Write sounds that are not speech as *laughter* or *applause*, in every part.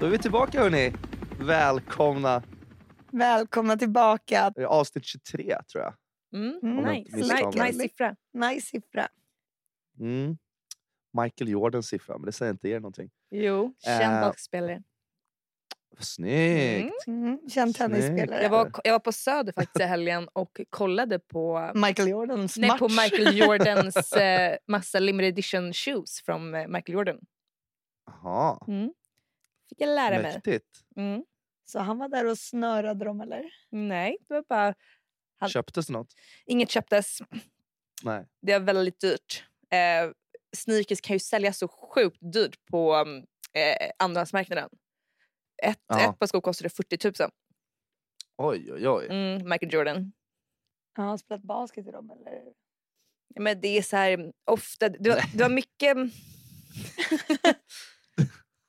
Då är vi tillbaka hörni. Välkomna. Välkomna tillbaka. Det är Avsnitt 23 tror jag. Mm. Om jag inte Nice. misstar Nice, mig. nice siffra. Nice siffra. Mm. Michael Jordans siffra, men det säger inte er någonting. Jo, Eh, känd boxspelare. Vad Snyggt! Mm. Mm. Känd Snyggt. tennisspelare. Jag var, jag var på Söder faktiskt i helgen och kollade på, Michael Jordans nej, match. *laughs* på Michael Jordans eh, massa limited edition shoes från eh, Michael Jordan. Jaha, Fick jag lära mig. mäktigt. Mm. Så han var där och snörade dem eller? Nej, det var bara, Han- Köptes det något? inget köptes. Nej. Det är väldigt dyrt. Eh, sneakers kan ju säljas så sjukt dyrt på mm, eh, andrahandsmarknaden. Ett, Ja. ett par skor kostade 40 000. Oj, oj, oj. Mm, Michael Jordan. Har han spelat basket i dem eller? Men det är så här mm, ofta, det var, det var *laughs* mycket... mm, *laughs*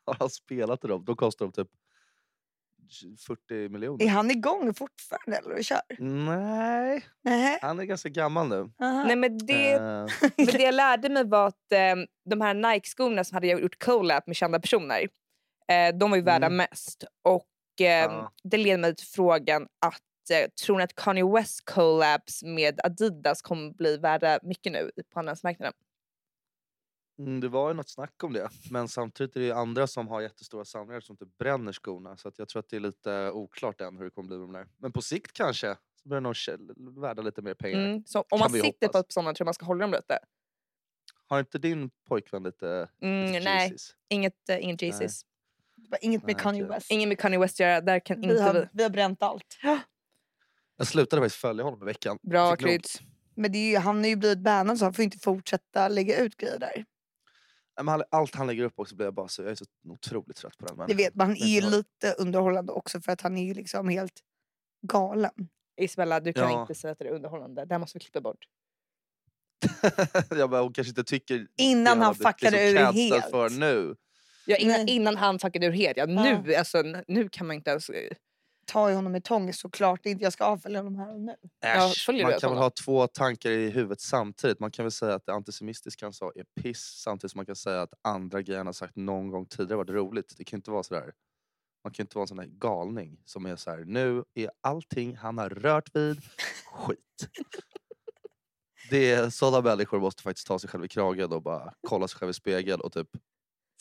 Har han spelat i dem? Då kostar de typ 40 miljoner. Är han igång fortfarande eller och kör? Nej, Nej. han är ganska gammal nu. Nej, men det, Eh, men det jag lärde mig var att eh, de här Nike-skorna som hade gjort collab med kända personer, eh, de var ju värda Mm. mest. Och eh, Ja. det leder mig till frågan att eh, tror ni att Kanye West collabs med Adidas kommer bli värda mycket nu på andrahandsmarknaden? Mm, det var ju något snack om det. Men samtidigt är det ju andra som har jättestora samlingar som inte bränner skorna. Så att jag tror att det är lite oklart än hur det kommer bli med de där. Men på sikt kanske. Så börjar någon käll- värda lite mer pengar. Mm. Så om man vi sitter på hoppas. ett sådant tror jag man ska hålla dem lite. Har inte din pojkvän lite, lite Mm, nej, Yeezys? inget, eh, inget Jesus. Det var Inget med Nej, Kanye okej. West. Ingen med Kanye West att göra, där Mm, kan vi, inte vi. har, vi har bränt allt. Jag slutade faktiskt följa honom i veckan. Bra Fick nog. kryds. Men det är ju, han har ju blivit bannad så han får inte fortsätta lägga ut grejer där. Nej, men han- Allt han lägger upp också blir jag bara så, jag är så otroligt trött på den Det människan. vet man. Han är ju inte vad- lite underhållande också för att han är ju liksom helt galen. Isabella, du kan Ja. inte säga att det är underhållande. Det här måste vi klippa bort. *laughs* jag bara, hon kanske inte tycker Innan det han har blivit fuckade ur cancelled helt. för nu. Ja, innan, Nej. innan han fuckade ur helt. Ja, Ja. nu, alltså, n- nu kan man inte ens... eh, Tar ju honom i tång såklart. Det är Inte jag ska avfölja honom här och nu. Ja, Äsch, följer man du kan väl honom? ha två tankar i huvudet samtidigt. Man kan väl säga att det antisemitiska han sa är piss samtidigt som man kan säga att andra grejer han har sagt någon gång tidigare varit roligt. Det kan inte vara sådär. Man kan inte vara en sån här galning som är så här. nu är allting han har rört vid *laughs* skit. Det är, sådana människor måste faktiskt ta sig själv i kragen och bara kolla sig själv i spegeln och typ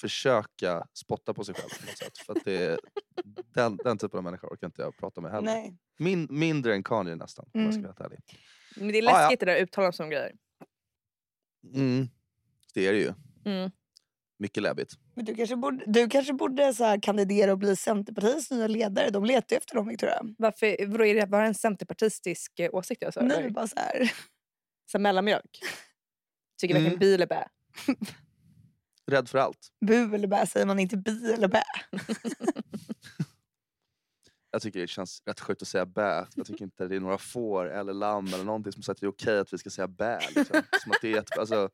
försöka spotta på sig själv. På något sätt. För att det är, den, den typen av människor orkar inte jag prata med heller. Nej. Min, mindre än Kanye nästan, om jag ska vara Mm. helt ärlig. Men det är Ja, ja. läskigt det där uttalandet som grejer. Mm. Det är det ju. Mm. Mycket läbbigt. Men du kanske borde, du kanske borde så här kandidera och bli Centerpartiets nya ledare. De letar ju efter dem, Victoria. Varför, vadå, är det bara en centerpartistisk eh, åsikt jag sa? Nu är det eller? bara så här. Så här mellanmjölk? Tycker Mm. verkligen bil är bä. Rädd för allt. Bu eller bä säger man inte bi eller bä. Jag tycker det känns rätt sjukt att säga bä. Jag tycker inte det är några får eller lamm eller någonting som säger att det är okej att vi ska säga bä. *laughs* Liksom. Som att det är ett, alltså, jag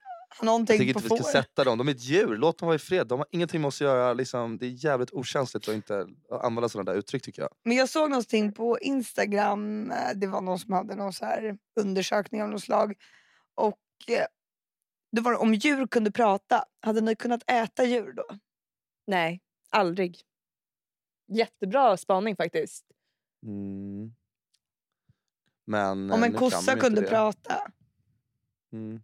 Någonting tycker på inte vi ska får. sätta dem. De är ett djur. Låt dem vara i fred. De har ingenting med oss att göra. Liksom, det är jävligt okänsligt att inte använda sådana där uttryck tycker jag. Men jag såg någonting på Instagram. eh, Det var någon som hade någon så här undersökning av något slag. Och eh, det var om djur kunde prata. Hade ni kunnat äta djur då? Nej, aldrig. Jättebra spaning faktiskt. Mm. Men, eh, om en nu kan de kossa inte kunde det. prata. Mm.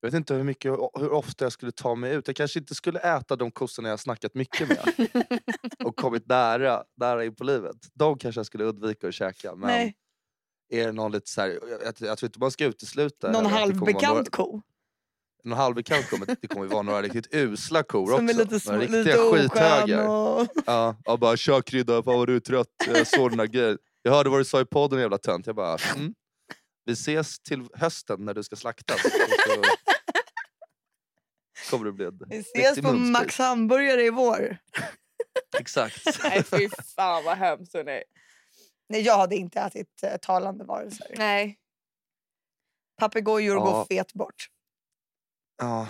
Jag vet inte hur, mycket, hur ofta jag skulle ta mig ut. Jag kanske inte skulle äta de kossorna jag snackat mycket *laughs* med och kommit nära, nära in på livet. De kanske jag skulle undvika att käka. Men Nej, är det någon lite så här, jag, jag, jag tror inte man ska utesluta någon heller att det kommer vara halvbekant ko. Några, någon halvbekant kommer, det kommer ju vara några riktigt usla kor Som är också. lite, små, några lite riktiga oskön. skithögar. *laughs* Och... Ja, jag bara “tja krydda, fan vad du är trött, jag såg den där grejen. Jag hörde vad du sa i podden jävla tönt. Jag bara mm. “vi ses till hösten när du ska slaktas”. Och så kommer det bli en Vi ses riktig på munspik. Max hamburgare i vår. Exakt. Nej, *laughs* fy fan vad hemskt. hörni. Nej, jag hade inte ätit eh, talande varelser. Nej. Papegojor Ja. går fet bort. Ja.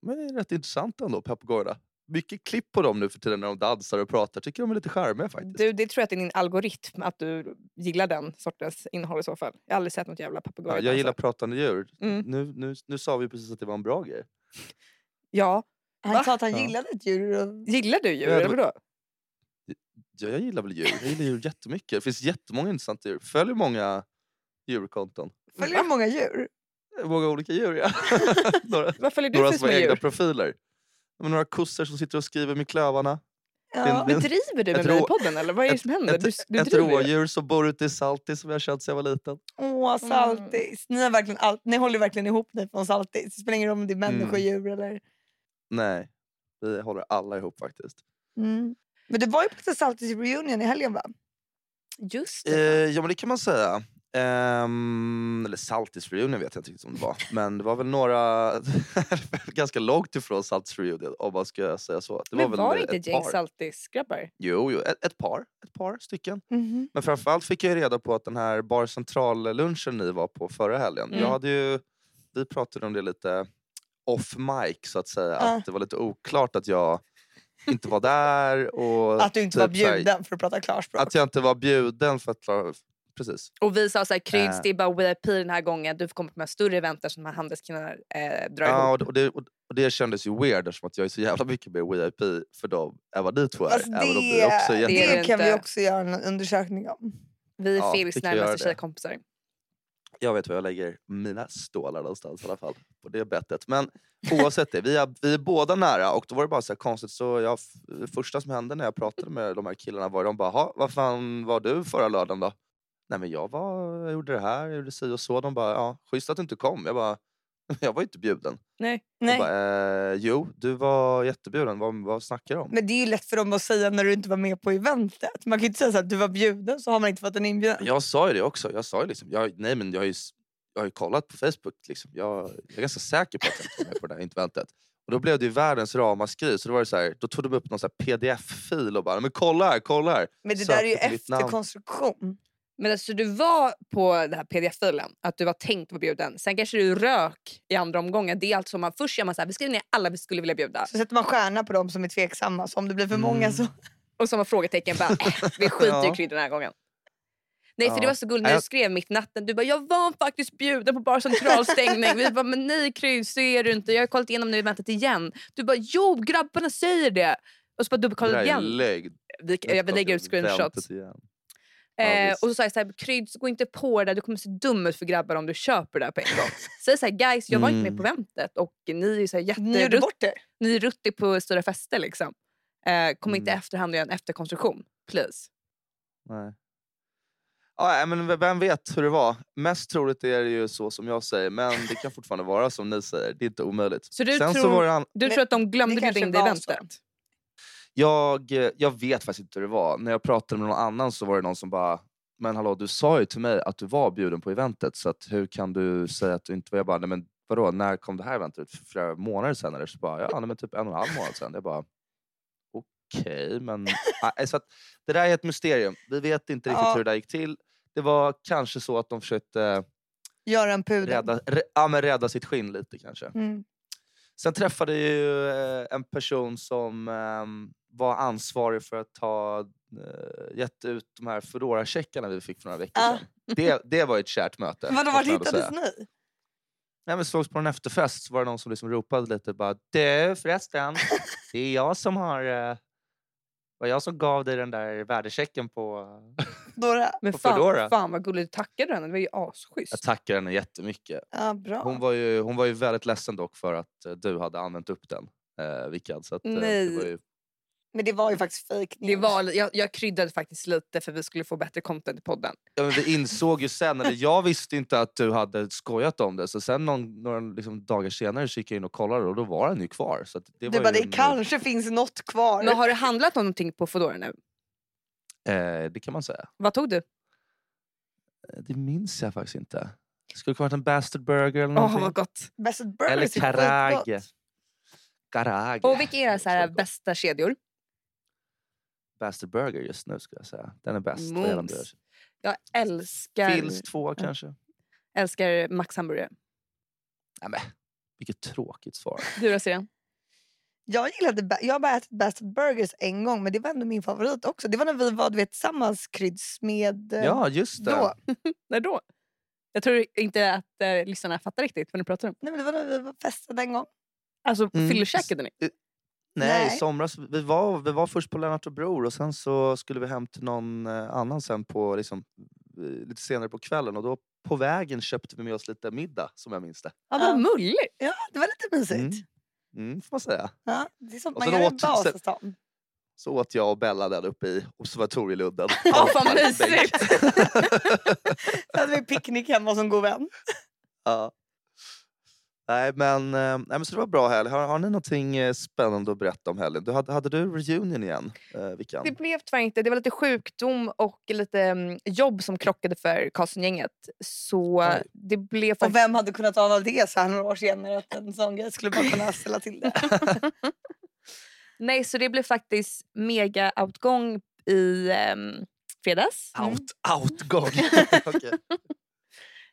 Men det är rätt intressant ändå, papegojorna. Mycket klipp på dem nu för tiden när de dansar och pratar. Tycker de är lite charmiga faktiskt. Du, det tror jag att det är din algoritm, att du gillar den sortens innehåll i så fall. Jag har aldrig sett något jävla alltså. Ja, papegoja. jag gillar pratande djur. Mm. Nu, nu, nu sa vi precis att det var en bra grej. Ja. Han Va? sa att han Ja. gillade ett djur. och- Gillar du djur? Ja, det eller var- vadå? Ja, jag gillar väl djur. Jag gillar djur jättemycket. Det finns jättemånga intressanta djur. Följer många djurkonton. Följer du många djur? Många olika djur, *laughs* ja. några Vad följer du några som för små har egna djur? profiler. Men några kossor som sitter och skriver med klövarna. Ja. Det är en- Driver du Ett med mig i rå- podden eller vad är det ett- som händer? Du, du Ett driver ju. rådjur som bor ute i Saltis som jag har känt sedan jag var liten. Åh, saltis. Ni, har verkligen all... ni håller verkligen ihop ni från saltis. Det spelar ingen roll om det är människor, Mm. djur eller... Nej, vi håller alla ihop faktiskt. Mm. Men du var ju på lite saltis reunion i helgen va? Just Eh, det. ja, men det kan man säga. Ehm, eller Saltis Reunion vet jag inte riktigt om det *laughs* var. Men det var väl några... *laughs* ganska långt ifrån Saltis Reunion om man ska säga så. Det men väl eh, var det inte ett ett gäng par. saltisgrabbar? Jo, jo ett, ett, par, ett par stycken. Mhm. Men framförallt fick jag ju reda på att den här Bar Central-lunchen ni var på förra helgen. Mm. Jag hade ju, vi pratade om det lite off mic så att säga. Ah. Att det var lite oklart att jag inte var där. Och *laughs* Att du inte typ var så här, bjuden för att prata klarspråk. Att jag inte var bjuden för att klara... Precis. Och vi sa såhär, kryds Eh. det är bara VIP den här gången. Du får komma på de här större eventen som de här handelskillarna eh, drar Ja, ihop. och det- och det, och och det kändes ju weird eftersom att jag är så jävla mycket mer VIP för dem än vad ni två är. Fast även om ni det- också är Alltså, det jätte- är det kan vi inte. också göra en undersökning om. Vi är ja, Phils vi kan göra närmaste det. tjejkompisar. Jag vet var jag lägger mina stålar någonstans i alla fall. På det bettet. Men oavsett det, vi är, vi är båda nära och då var det bara så här konstigt. Så jag, det första som hände när jag pratade med de här killarna var de bara "Ha, “Vad fan var du förra lördagen då?” “Nej men jag, var, jag gjorde det här, jag gjorde si och så.” De bara “Ja, schysst att du inte kom.” Jag bara *laughs* “Jag var ju inte bjuden.” De Nej. bara, eh, “Jo, du var jättebjuden. Vad, vad snackar du om?” Men det är ju lätt för dem att säga när du inte var med på eventet. Man kan ju inte säga så att du var bjuden så har man inte fått en inbjudan. Jag sa ju det också. Jag sa ju liksom, jag, nej men jag har ju, s- jag har ju kollat på Facebook. Liksom. Jag, jag är ganska säker på att jag inte var med på det här interventet. Och då blev det ju världens ramaskri. Så då, var det så här, då tog de upp någon så här pdf-fil och bara “men kolla här, kolla här”. Men det Sökte där är ju på ditt namn. efterkonstruktion. Men alltså du var på den här pdf-filen, att du var tänkt att vara bjuden. Sen kanske du rök i andra omgången. Det är alltså man först gör man så här, vi skriver ner alla vi skulle vilja bjuda. Så sätter man stjärna på dem som är tveksamma. Så om det blir för många Mm. så... Och så var frågetecken bara, äh, vi skiter i Ja. krydd den här gången. Nej för det Ja. var så gulligt när Äh, du skrev mitt i natten. Du bara, jag var faktiskt bjuden på Bar Central stängning. Vi bara, men nej krydd så är du inte. Jag har kollat igenom nu eventet igen. Du bara, jo grabbarna säger det. Och så bara Det dubbelkollade där är igen. lögn. Vi, Det är jag klart lägger jag ut screenshotss. väntat igen. Ja, Eh, och visst. så sa jag så här, krydd, så gå inte på det där. Du kommer se dum ut för grabbar om du köper det här på *laughs* en gång. Säg så här, guys, jag var inte med på Mm. eventet och ni är ju så här Ni gjorde jätterutt, bort det. ni är ruttig på stora fester liksom. Eh, kom inte i Mm. efterhand och gör en efterkonstruktion. Please. Nej. Ja, nej, men v- vem vet hur det var? Mest troligt är det ju så som jag säger, men det kan fortfarande vara som ni säger. Det är inte omöjligt. Så du Sen så tror- var det an- Du Men tror att de glömde det bjuda kanske in dig i var eventet? Jag, eh, jag vet faktiskt inte hur det var. När jag pratade med någon annan så var det någon som bara “men hallå, du sa ju till mig att du var bjuden på eventet, så att hur kan du säga att du inte var?” Jag bara “nej men vadå, när kom det här eventet ut? För flera månader sen eller?” Så bara “ja, nej, men typ en och en halv månad sen”. Jag bara “okej, men...” Nej, så att, Det där är ett mysterium. Vi vet inte riktigt Ja. hur det där gick till. Det var kanske så att de försökte Göra en pudel. rädda, rä, ja, men rädda sitt skinn lite kanske. Mm. Sen träffade jag ju eh, en person som ehm, var ansvarig för att ha eh, gett ut de här Foodora-checkarna vi fick för några veckor Ah. sedan. Det, det var ju ett kärt möte. Vadå, måste vart jag ändå hittades säga. ni? Nej, men Sågs på en efterfest så var det någon som liksom ropade lite bara Du *laughs* förresten, det är jag som har... eh, var jag som gav dig den där värdechecken på... Dora? Men På fan, Foodora. fan vad gulligt, du tackade henne. Det var ju asschysst. Jag tackar henne jättemycket. Ja, bra. Hon var ju, hon var ju väldigt ledsen dock för att eh, du hade använt upp den. Eh, Rickard. Så att, eh, Nej. Det var ju Men det var ju faktiskt fake news. Det var, jag, jag kryddade faktiskt lite för vi skulle få bättre content i podden. Ja, men vi insåg ju sen, eller jag visste inte att du hade skojat om det. Så sen någon, några liksom dagar senare så gick jag in och kollade och då var den ju kvar. Så att det du var bara, ju det en- kanske finns något kvar. Men har du handlat någonting på Foodora nu? Eh, det kan man säga. Vad tog du? Eh, Det minns jag faktiskt inte. Skulle det kunna varit en bastard burger eller Åh någonting. vad gott. Best of Burgers är eller skitgott. karage. Karage. Och vilka är era så här, Otroligt gott. bästa kedjor? Bastard burger just nu skulle jag säga. Den är bäst. vad gäller Mums. burgers. Jag älskar, Fils två kanske. älskar Max hamburgare. Nej, men, vilket tråkigt svar. Du då Syrien? Jag, gillade, ba- jag har bara ätit Best of Burgers en gång men det var ändå min favorit också. Det var när vi var du vet, tillsammans kryds med... eh, Ja, just det. då. När då? Jag tror inte att eh, lyssnarna fattar riktigt vad ni pratar om. Nej, men det var när vi var festade en gång. Alltså Mm. fyllekäkade ni? Nej, Nej. i somras. Vi var, vi var först på Lennart och Bror och sen så skulle vi hem till någon eh, annan sen på, liksom, eh, lite senare på kvällen. Och då på vägen köpte vi med oss lite middag som jag minns det. Ja, Ja. vad mulligt! Ja, det var lite mysigt. Mm, får man säga. Ja, det är sånt Och man sen gör i åt- sen- Vasastan. Så åt jag och Bella där uppe i Observatorieludden. *laughs* Ja, vad mysigt! Sen hade vi picknick hemma hos en god vän. *laughs* Ja. Nej, men, eh, nej men så det var bra helg. Har, har ni någonting eh, spännande att berätta om helgen? Du, hade, hade du reunion igen, eh, Vickan? Det blev tyvärr inte. Det var lite sjukdom och lite mm, jobb som krockade för Karlsson-gänget. Så Oj. det blev Och faktiskt... vem hade kunnat ana det så här några år senare att en sån grej skulle bara kunna ställa till det. Nej, så det blev faktiskt mega-outgång i ehm, fredags. Out, Mm. outgång! *laughs* *laughs* Okej.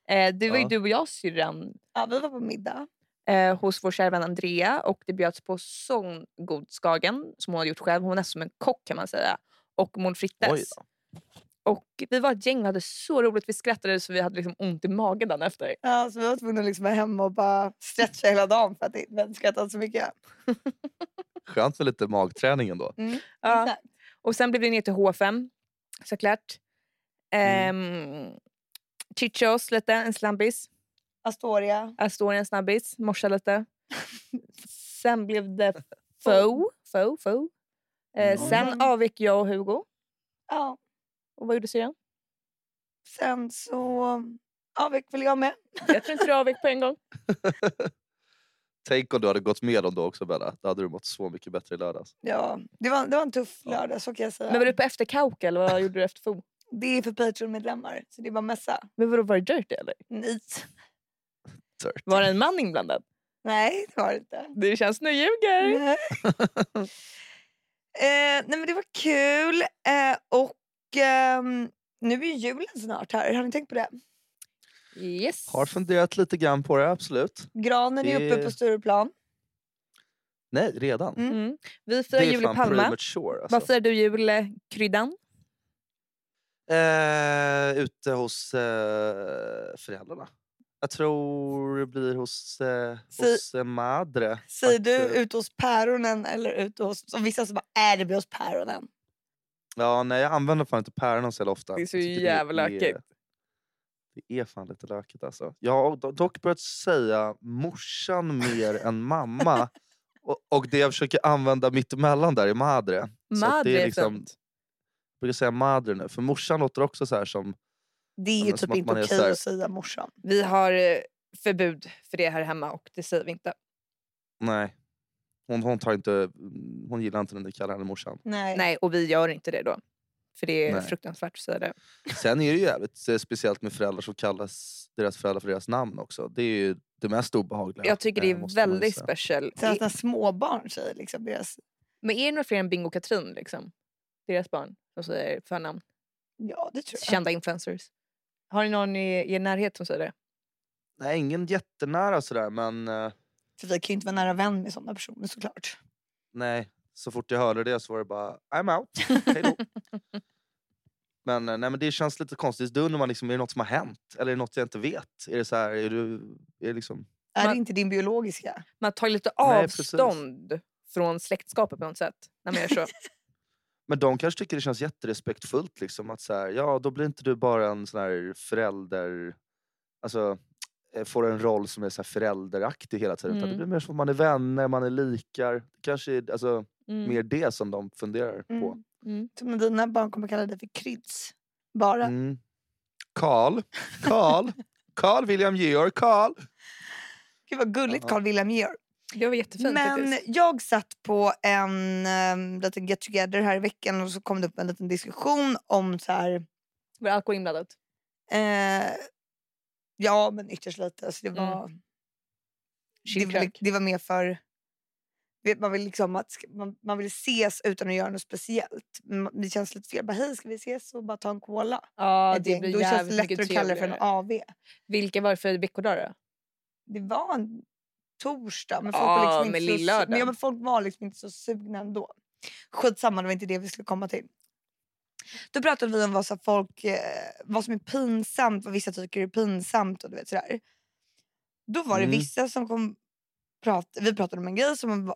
Eh, det var ju Ja. du och jag syrran Ja, vi var på middag. eh, hos vår kära vän Andrea och det bjöds på sån god skagen som hon hade gjort själv. Hon var nästan som en kock kan man säga. Och Oj molnfrittes. då. Och vi var ett gäng och hade så roligt. Vi skrattade så vi hade liksom ont i magen dagen efter. Ja, så vi var tvungna att liksom vara hemma och bara stretcha hela dagen för att det- vi hade skrattat så mycket. Skönt med lite magträning ändå. Ja. Exakt. Och sen blev det ner till H5 såklart. Ehm, Chichos lite, en snabbis. Astoria. Astoria en snabbis, morsa lite. sen blev det *laughs* faux. faux, faux. Eh, Mm. Sen avgick jag och Hugo. Ja. Och vad gjorde syrran? Sen så avvek väl jag med. Jag tror inte du avgick på en *laughs* gång. Tänk om du hade gått med dem då också Bella. Då hade du mått så mycket bättre i lördags. Ja, det, var, det var en tuff lördag, så kan jag säga. Men var du på efterkauk eller vad gjorde du efter faux? Det är för Patreon-medlemmar, så det är bara mässa. Men vadå, var det dirty eller? Nej, Dirt. Var det en man inblandad? Nej det var det inte. Det känns nu ljuger. Nej. eh, nej, men det var kul. Eh, och ehm, nu är ju julen snart här. Har ni tänkt på det? Yes. Har funderat lite grann på det, absolut. Granen är uppe Det- på Stureplan. Nej, redan. Mm. Mm. Vi Det firar är jul i fan Palma. premature. Vad Alltså. firar du jul, eh, kryddan? Eh, ute hos eh, föräldrarna. Jag tror det blir hos, eh, Si- hos eh, Madre. Säger du faktiskt. ute hos päronen eller ute hos... Som vissa som bara är det blir hos päronen. Ja, nej, jag använder fan inte päronen så jävla ofta. Det är så Jag tycker jävla är- lökigt. Det är fan lite lökigt alltså. Jag har do- dock börjat säga morsan mer än *laughs* mamma. Och, och det jag försöker använda mittemellan där är madre. Så att Madre det är är liksom, fint. jag brukar säga madre nu, för morsan låter också så här som... Det är ju men typ som att inte man är okej så här- att säga morsan. Vi har eh, förbud för det här hemma och det säger vi inte. Nej. Hon, hon, tar inte, mm, hon gillar inte när ni kallar henne morsan. Nej. Nej, och vi gör inte det då. För det är Nej. fruktansvärt att säga det. Sen är det ju jävligt eh, speciellt med föräldrar som kallas deras föräldrar för deras namn också. Det är ju det mest obehagliga. Jag tycker det eh, är måste man ju väldigt säga. special. Sen att I- när småbarn säger liksom deras... Men är det några fler än Bingo och Katrin, liksom? deras barn, som säger förnamn? Ja, det tror jag. Kända influencers. Har ni någon i er närhet som säger det? Nej, ingen jättenära sådär men eh, För vi kan ju inte vara nära vän med sådana personer såklart. nej. Så fort jag hörde det så var det bara I'm out, hej *laughs* då. men, eh, nej, men det känns lite konstigt. Då undrar man liksom, är det något som har hänt? Eller är det något jag inte vet? Är det så här, är du, är det liksom... Är Man- det inte din biologiska? Man tar ju lite Nej, precis. avstånd från släktskapet på något sätt. När man *laughs* gör så. Men de kanske tycker det känns jätterespektfullt liksom att så här, ja då blir inte du bara en sån här förälder, alltså eh, får en roll som är så här förälderaktig hela tiden. Utan det Mm. blir mer som att man är vänner, man är likar. Kanske är, alltså, Mm. mer det som de funderar på. Mm. Som när dina barn kommer kalla dig för kryds. Bara. Mm. Karl, Karl, Karl William Georg, Karl. Gud vad gulligt Ja. Carl Wilhelm gör. Det var jättefint Men faktiskt. jag satt på en um, liten get together här i veckan och så kom det upp en liten diskussion om så här Var det alkohol inblandat? Eh, ja, men ytterst lite. Alltså det, Mm. var, det, var, Chilcrack. li- det var mer för... Vet, man, vill liksom att, ska- man, man vill ses utan att göra något speciellt. Men Det känns lite fel. Bara, Hej, ska vi ses och bara ta en cola? Ja, Ett det gäng. blir Då känns det jävligt mycket lättare att kalla det för en trevligare. AV. Vilka var det för veckodagar då? Det var en torsdag, men folk, Ja, var, liksom men inte så, su- lillördagen. men, ja, men folk var liksom inte så sugna ändå. Skitsamma, det var inte det vi skulle komma till. Då pratade vi om vad, så här folk, eh, vad som är pinsamt, vad vissa tycker är pinsamt och du vet sådär. Då var det Mm. vissa som kom... Prat, vi pratade om en grej som var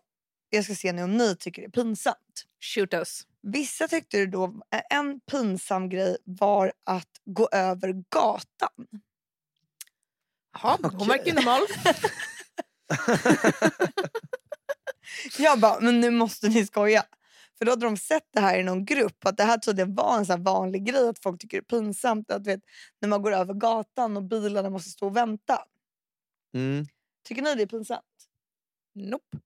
Jag ska se nu om ni tycker det är pinsamt. Shoot us. Vissa tyckte det då, en pinsam grej var att gå över gatan. Jaha, hon Okej. verkar ju normal. Jag bara, men nu måste ni skoja. För då hade de sett det här i någon grupp, att det här tydligen var en så här vanlig grej att folk tycker det är pinsamt. Att, du vet, när man går över gatan och bilarna måste stå och vänta. Mm. Tycker ni det är pinsamt? Nope.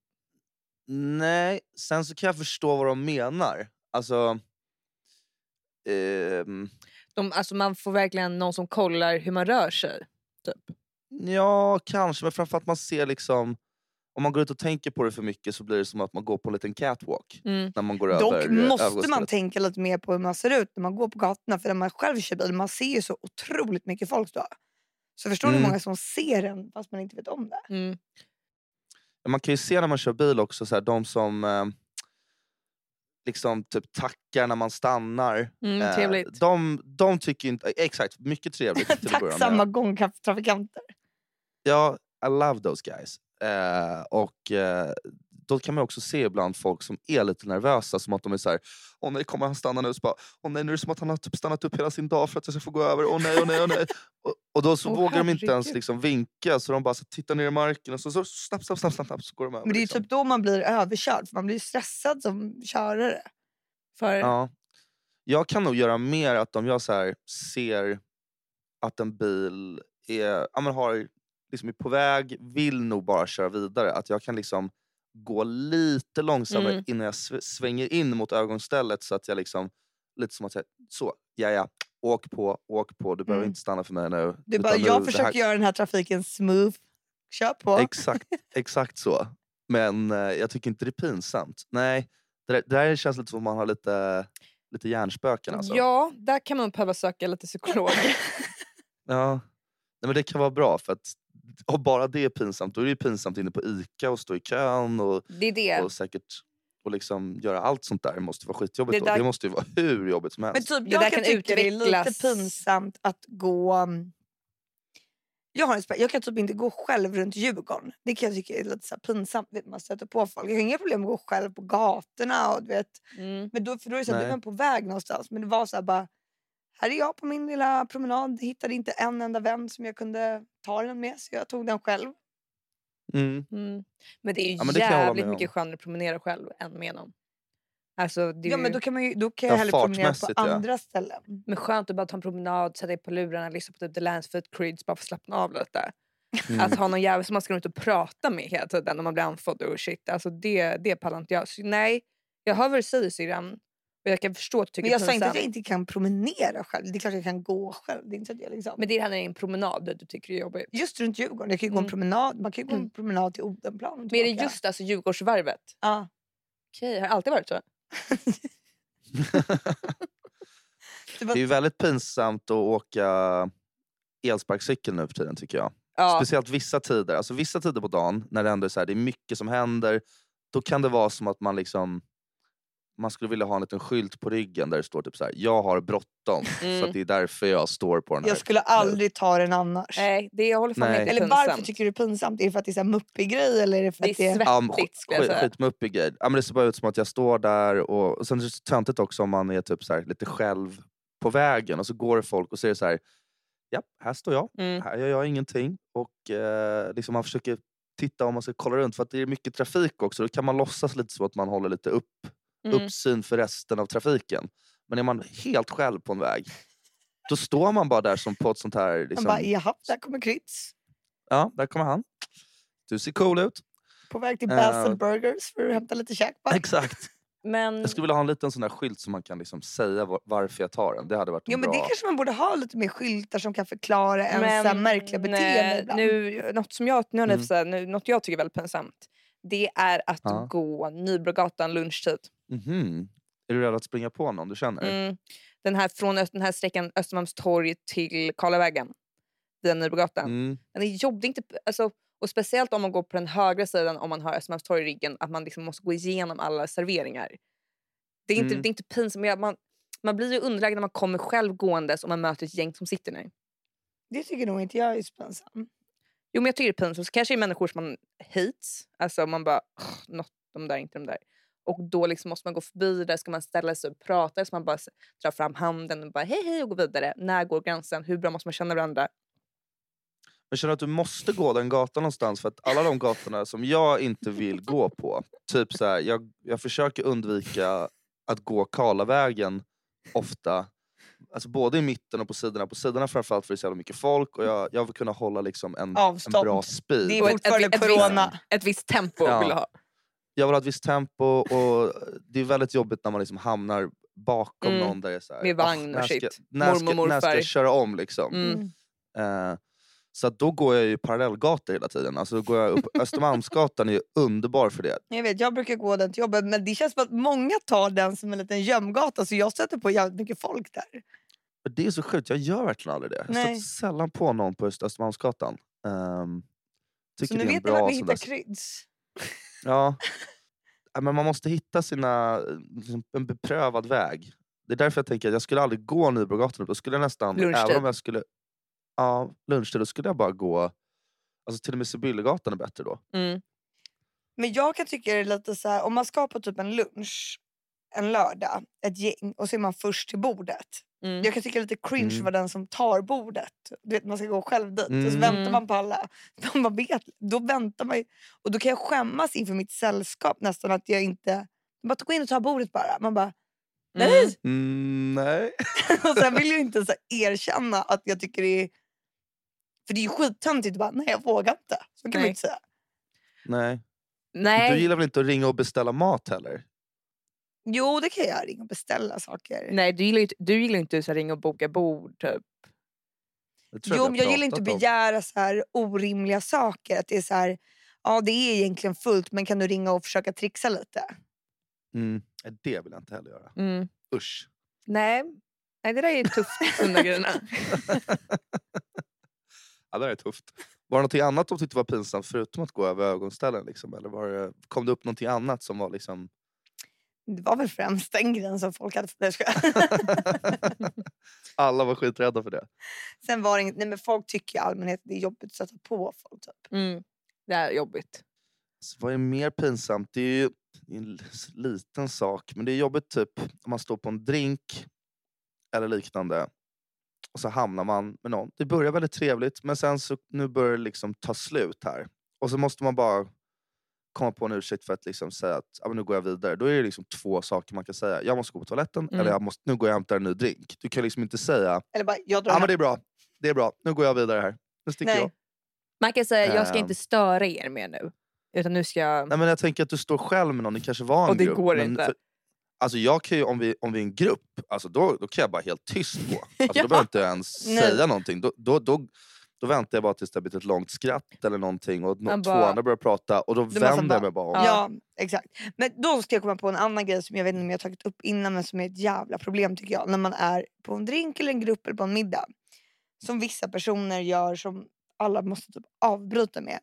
Nej, sen så kan jag förstå vad de menar. Alltså... ehm, De, alltså man får verkligen någon som kollar hur man rör sig. Ja, kanske. Men framförallt man ser liksom... Om man går ut och tänker på det för mycket så blir det som att man går på en liten catwalk. Mm. När man går över Dock eh, måste man övergångsstället. tänka lite mer på hur man ser ut när man går på gatorna. För när man själv kör bil, man ser ju så otroligt mycket folk då. Så förstår ni hur Mm. många som ser en fast man inte vet om det? Mm. Men Man kan ju se när man kör bil också, så här, de som eh, liksom typ tackar när man stannar. Mm, eh, trevligt. de, de tycker inte... eh, Exakt, mycket trevligt. till att börja med. *laughs* Tacksamma gångtrafikanter. Ja, I love those guys. Eh, och eh, då kan man också se ibland folk som är lite nervösa, som att de är så här, åh nej, kommer han stanna nu? Så bara, åh nej, nu är det som att han har typ stannat upp hela sin dag för att jag ska få gå över, åh nej, åh nej, åh *laughs* nej. och, och då så Åh, vågar de inte ens herregud. liksom vinka, så de bara så tittar ner i marken och så, så snabbt, snabbt, snabbt, snabbt, snabbt så går de över. Men det är ju liksom. typ då man blir överkörd. För man blir ju stressad som körare. För, Ja. Jag kan nog göra mer att om jag så här ser att en bil är, ja, men har, liksom är på väg, vill nog bara köra vidare. Att jag kan liksom gå lite långsammare Mm. innan jag sv- svänger in mot övergångsstället så att jag liksom, lite som att säga så, ja ja, åk på, åk på, du behöver Mm. inte stanna för mig nu. Du utan bara, nu, jag det försöker här- göra den här trafiken smooth. Kör på. *laughs* Exakt, exakt så. Men eh, jag tycker inte det är pinsamt. Nej, det där, det där känns lite som att man har lite, lite hjärnspöken alltså. Ja, där kan man behöva söka *laughs* lite psykolog. Ja. Nej, men det kan vara bra för att och bara det är pinsamt. Då är det ju pinsamt inne på ICA och stå i kön och, Det är det. och säkert och liksom göra allt sånt där. Det måste vara skitjobbigt. Det Det, där- då. det måste ju vara hur jobbigt som Men helst. typ, Det jag där kan kan tycka det är lite utvecklas. pinsamt att gå... um, Jag, har en, spä- jag kan typ inte gå själv runt Djurgården. Det kan jag tycka är lite så här pinsamt. Vet, man stöter på folk. Jag har inga problem med att gå själv på gatorna. Och, du vet. Mm. Men då, för då är det så här, då är Nej. man på väg någonstans. Men det var så här bara... Här är jag på min lilla promenad. Hittade inte en enda vän som jag kunde ta den med. Så jag tog den själv. Mm. Mm. Men det är ju Ja, men det kan jag hålla jävligt med mycket skönare att promenera själv än med någon. Alltså, det är Ja, men ju- då kan, man ju, då kan Ja, jag hellre promenera på fartmässigt, ja. andra ställen. men skönt att bara ta en promenad, sätta dig på lurarna, lyssna på typ The Lansford Creeds bara för att slappna av lite. Mm. Alltså- Att ha någon jävel som man ska gå ut och prata med hela tiden när man blir andfådd och shit. Alltså det, det pallar inte jag. Så, nej, jag hör vad du säger syrran. Och jag kan förstå att du tycker Men jag sa inte att pinsamt. jag inte kan promenera själv. Det är klart jag kan gå själv. Det är inte så att jag liksom... Men det är det här när det är en promenad du tycker det är jobbigt. just runt Djurgården. Jag kan ju gå en Mm. promenad. Man kan ju gå en Mm. promenad till Odenplan. och Men är det tillbaka. just alltså Djurgårdsvarvet? Ja. Okej, har det alltid varit så? Det *laughs* Det är var, ju väldigt pinsamt att åka elsparkcykel nu för tiden tycker jag. Ja. Speciellt vissa tider. Alltså vissa tider på dagen när det ändå är, så här, det är mycket som händer. Då kan det vara som att man liksom man skulle vilja ha en liten skylt på ryggen där det står typ så här: jag har bråttom. Så Mm. att det är därför jag står på den här. liksom. jag skulle aldrig ta den annars. Nej, det jag håller fan med. Nej. det är Eller varför pinsamt. tycker du det är pinsamt? Är det för att det är en muppig grej? Eller är det för Det att det är är... svettigt skulle jag skit, säga. skitmuppig grej. Ja, men det ser bara ut som att jag står där och, och sen är det så töntigt också om man är typ så här, lite själv på vägen och så går det folk och ser så här. Ja, här står jag. Mm. Här gör jag ingenting. Och eh, liksom man försöker titta om man ska kolla runt för att det är mycket trafik också. Då kan man låtsas lite så att man håller lite upp, Mm. uppsyn för resten av trafiken. Men är man helt själv på en väg då står man bara där som på ett sånt här... Man Liksom, bara, jaha, där kommer Kryds. ja, där kommer han. Du ser cool ut. På väg till Eh. Bass and Burgers för att hämta lite käk. bara. Exakt. Men, Jag Mm. skulle vilja ha en liten sån där skylt som man kan liksom säga var- varför jag tar den. Det hade varit en Jo, men bra... det kanske man borde ha lite mer skyltar som kan förklara ens men, så här märkliga beteenden. eh, ibland. nu, något som jag, nu har ni Mm. för sig, nu, något jag tycker är väldigt pinsamt. Det är att Ja. gå Nybrogatan lunchtid. Mhm. Är du rädd att springa på någon du känner? Mm. Den här, från Öst- den här sträckan Östermalmstorg till Karlavägen. Via Nybrogatan. Mm. Den är jobbig. Inte, alltså, och speciellt om man går på den högra sidan om man har Östermalmstorg i ryggen. Att man liksom måste gå igenom alla serveringar. Det är inte, Mm. det är inte pinsamt. men jag- Man, man blir ju underlägsen när man kommer själv gåendes och man möter ett gäng som sitter ner. Det tycker nog inte jag är så pinsamt. Jo men jag tycker det är pinsamt. Så kanske det är människor som man hates. Alltså man bara, "Ugh, något de där, inte de där. Och då liksom måste man gå förbi det där, ska man ställa sig och prata eller ska man bara s- dra fram handen och bara hej hej och gå vidare. När går gränsen? Hur bra måste man känna varandra? Jag känner att du måste gå den gatan någonstans för att alla de gatorna som jag inte vill gå på, typ så här, jag, jag försöker undvika att gå Karlavägen ofta. Alltså både i mitten och på sidorna. På sidorna framförallt för det är så jävla mycket folk och jag, jag vill kunna hålla liksom en, en Avstånd. bra speed. Det är Och ett- fortfarande ett- ett visst- corona. Ett visst tempo Ja. vill jag ha. Jag vill ha ett visst tempo och det är väldigt jobbigt när man liksom hamnar bakom Mm. någon där det är så här, Med vagn och "Ah, när ska- shit. När ska, Mormor, när ska morfar." jag köra om liksom? Mm. Eh, så att då går jag ju parallellgator hela tiden. Alltså då går jag upp. Östermalmsgatan är ju underbar för det. Jag vet, jag brukar gå den till jobbet men det känns som att många tar den som en liten gömgata så jag stöter på jävligt mycket folk där. Och Det är så sjukt, jag gör verkligen aldrig det. Jag Nej. stöter sällan på någon på Öst- Östermalmsgatan. Um, Så tycker nu det är en vet ni vart bra ni sån där... hittar kryds. Ja. Ja, Men man måste hitta sina, eh, liksom, en beprövad väg. Det är därför jag tänker att jag skulle aldrig gå Nybrogatan. Då skulle jag nästan, Lunchtid. även om jag skulle... Ja, lunchtid. Då skulle jag bara gå... Alltså till och med Sibyllegatan är bättre då. Mm. Men jag kan tycka det är lite så här, om man ska på typ en lunch en lördag, ett gäng och så är man först till bordet. Mm. Jag kan tycka det är lite cringe Mm. att vara den som tar bordet. Du vet man ska gå själv dit och så Mm. väntar man på alla. *laughs* De bara vet, då väntar man ju. Och då kan jag skämmas inför mitt sällskap nästan att jag inte... De bara gå in och ta bordet bara. Man bara nej! Mm. Mm, nej. *laughs* Och sen vill jag inte så här erkänna att jag tycker det är... För det är ju skittöntigt att bara, nej jag vågar inte. Så kan man Nej. ju inte säga. nej. Du Nej. gillar väl inte att ringa och beställa mat heller? Jo det kan jag ringa och beställa saker. Nej, du gillar ju inte- du gillar ju inte att så här ringa och boka bord. Typ. Det tror Jo men vi har jag gillar inte att pratat om. begära så här orimliga saker. Att det är så här, ja det är egentligen fullt men kan du ringa och försöka trixa lite? Mm. nej, Det vill jag inte heller göra. Mm. Usch. Nej. Nej, det där är tufft. *laughs* de där grejerna. Ja, det här är tufft. Var det någonting annat de tyckte var pinsamt förutom att gå över ögonställen? Liksom? Eller var det, kom det upp någonting annat som var liksom... *laughs* *laughs* Det var väl främst den grejen som folk hade... Nej, jag skojar. *laughs* Alla var skiträdda för det. Sen var det inget, nej men folk tycker i allmänhet att det är jobbigt att sätta på folk. Typ. Mm. Det är jobbigt. Så vad är mer pinsamt? Det är ju det är en l- liten sak, men det är jobbigt typ om man står på en drink eller liknande och så hamnar man med någon. Det börjar väldigt trevligt, men sen så nu börjar det liksom ta slut här. Och så måste man bara komma på en ursäkt för att liksom säga att ah, men nu går jag vidare. Då är det liksom två saker man kan säga. Jag måste gå på toaletten Mm. eller jag måste, nu går jag och hämtar en ny drink. Du kan liksom inte säga Eller bara, jag drar ah, hem. men det är bra, det är bra, nu går jag vidare här. Nu sticker Nej. jag. Man kan säga jag ska Ehm. Mm. inte störa er mer nu. Utan nu ska jag... Nej, men jag tänker att du står själv med någon, det kanske var en Och det grupp. går men inte. För, alltså jag kan ju, om, vi, om vi är en grupp, alltså då, då kan jag bara helt tyst *laughs* gå. *laughs* Alltså Ja. Då behöver jag inte ens Nej. säga någonting. Då, då, då, då väntar jag bara tills det har blivit ett långt sratt eller någonting och no, Man två bara- andra börjar prata och då måste vänder bara- jag mig bara om. Ja. Ja, exakt. Men då ska jag komma på en annan grej som jag vet inte om jag har tagit upp innan men som är ett jävla problem tycker jag. När man är på en drink eller en grupp eller på en middag. Som vissa personer gör som alla måste typ avbryta med.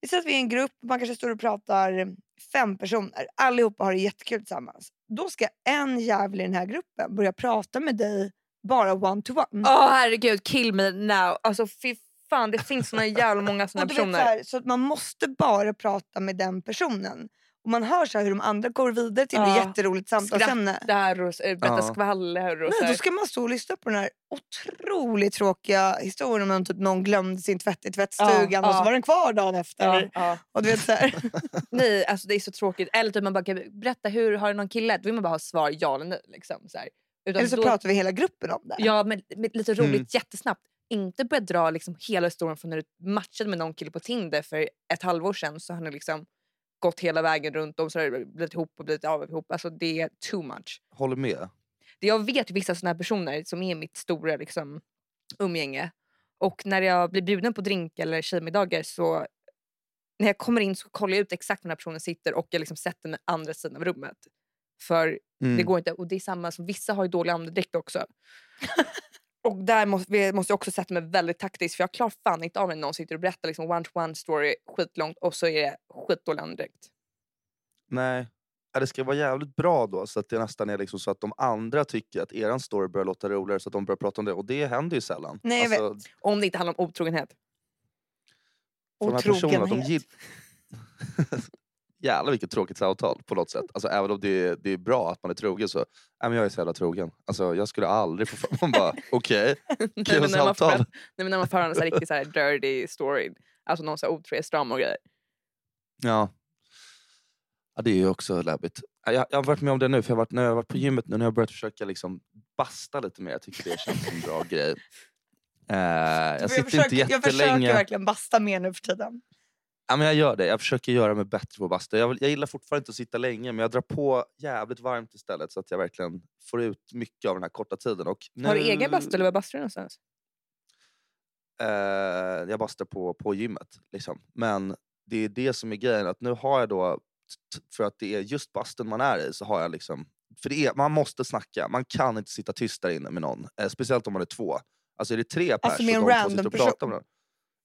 Vi säger att vi är en grupp, man kanske står och pratar fem personer. Allihopa har det jättekul tillsammans. Då ska en jävel i den här gruppen börja prata med dig bara one to one. Åh herregud, kill me now. Alltså fy fan, det finns såna jävla *laughs* många såna Och du vet så, personer. här, så att man måste bara prata med den personen. Och man hör så här hur de andra går vidare till Ja. det jätteroligt samtalsämne. Där och äh, berätta Ja. skvaller och så Nej, då här. ska man stå och lyssna på den här otroligt tråkiga historien om typ någon glömde sin tvätt i tvättstugan Ja, och så ja. var den kvar dagen efter. Ja, ja. Och du vet *laughs* så här. Nej, alltså det är så tråkigt. Eller typ man bara kan berätta hur har du någon kille? Då vill man bara ha svar ja eller nej. Liksom, så här. Utan Eller så då- pratar vi hela gruppen om det. Ja, men med lite roligt Mm. jättesnabbt. Inte börja dra liksom hela historien från när du matchade med någon kille på Tinder för ett halvår sedan så har ni liksom gått hela vägen runt om så har det blivit ihop och blivit av ihop. Alltså det är too much. Håller med. Det jag vet vissa såna här personer som är mitt stora liksom, umgänge och när jag blir bjuden på drink eller tjejmiddagar så när jag kommer in så kollar jag ut exakt var den här personen sitter och jag liksom sätter den andra sidan av rummet. För Mm. det går inte. Och det är samma som vissa har ju dålig *laughs* andedräkt också. och där måste, vi- måste jag också sätta mig väldigt taktiskt för jag klarar fan inte av när någon sitter och berättar liksom one-to-one story skitlångt och så är det skitdålig andedräkt. Nej. Ja, det ska vara jävligt bra då så att det nästan är liksom så att de andra tycker att eran story börjar låta roligare så att de börjar prata om det. Och det händer ju sällan. Nej, jag alltså, Om det inte *laughs* handlar om otrogenhet. för de här personerna, de Otrogenhet. gill... *laughs* jävlar vilket tråkigt samtal på något sätt. Alltså, även om det är, det är bra att man är trogen så, nej men jag är så jävla trogen. Alltså, jag skulle aldrig få för Man *laughs* bara, okej, Nej, kul men när man får- samtal. nej, men när man får höra en så här *laughs* riktigt så här dirty story, alltså någon så här otrohetsdrama och grejer. Ja. ja, det är ju också läbbigt. Ja, Jag, jag har varit med om det nu, för jag har varit, när jag har varit på gymmet nu när jag har börjat försöka liksom basta lite mer. Jag tycker det känns som en bra grej. Eh, jag sitter försöker, inte jag försöker jättelänge. verkligen basta mer nu för tiden. Ja, men jag gör det. Jag försöker göra mig bättre på basta. Jag, vill- jag gillar fortfarande inte att sitta länge, men jag drar på jävligt varmt istället så att jag verkligen får ut mycket av den här korta tiden. Och nu, Har du egen bastu eller var bastar du någonstans? Eh, jag bastar på, på gymmet. Liksom. Men det är det som är grejen. Att nu har jag då, t- för att det är just bastun man är i, så har jag liksom... För det är, man måste snacka, man kan inte sitta tyst där inne med någon. Eh, speciellt om man är två. Alltså är det tre pers med en och de två random sitter och person? pratar med varandra.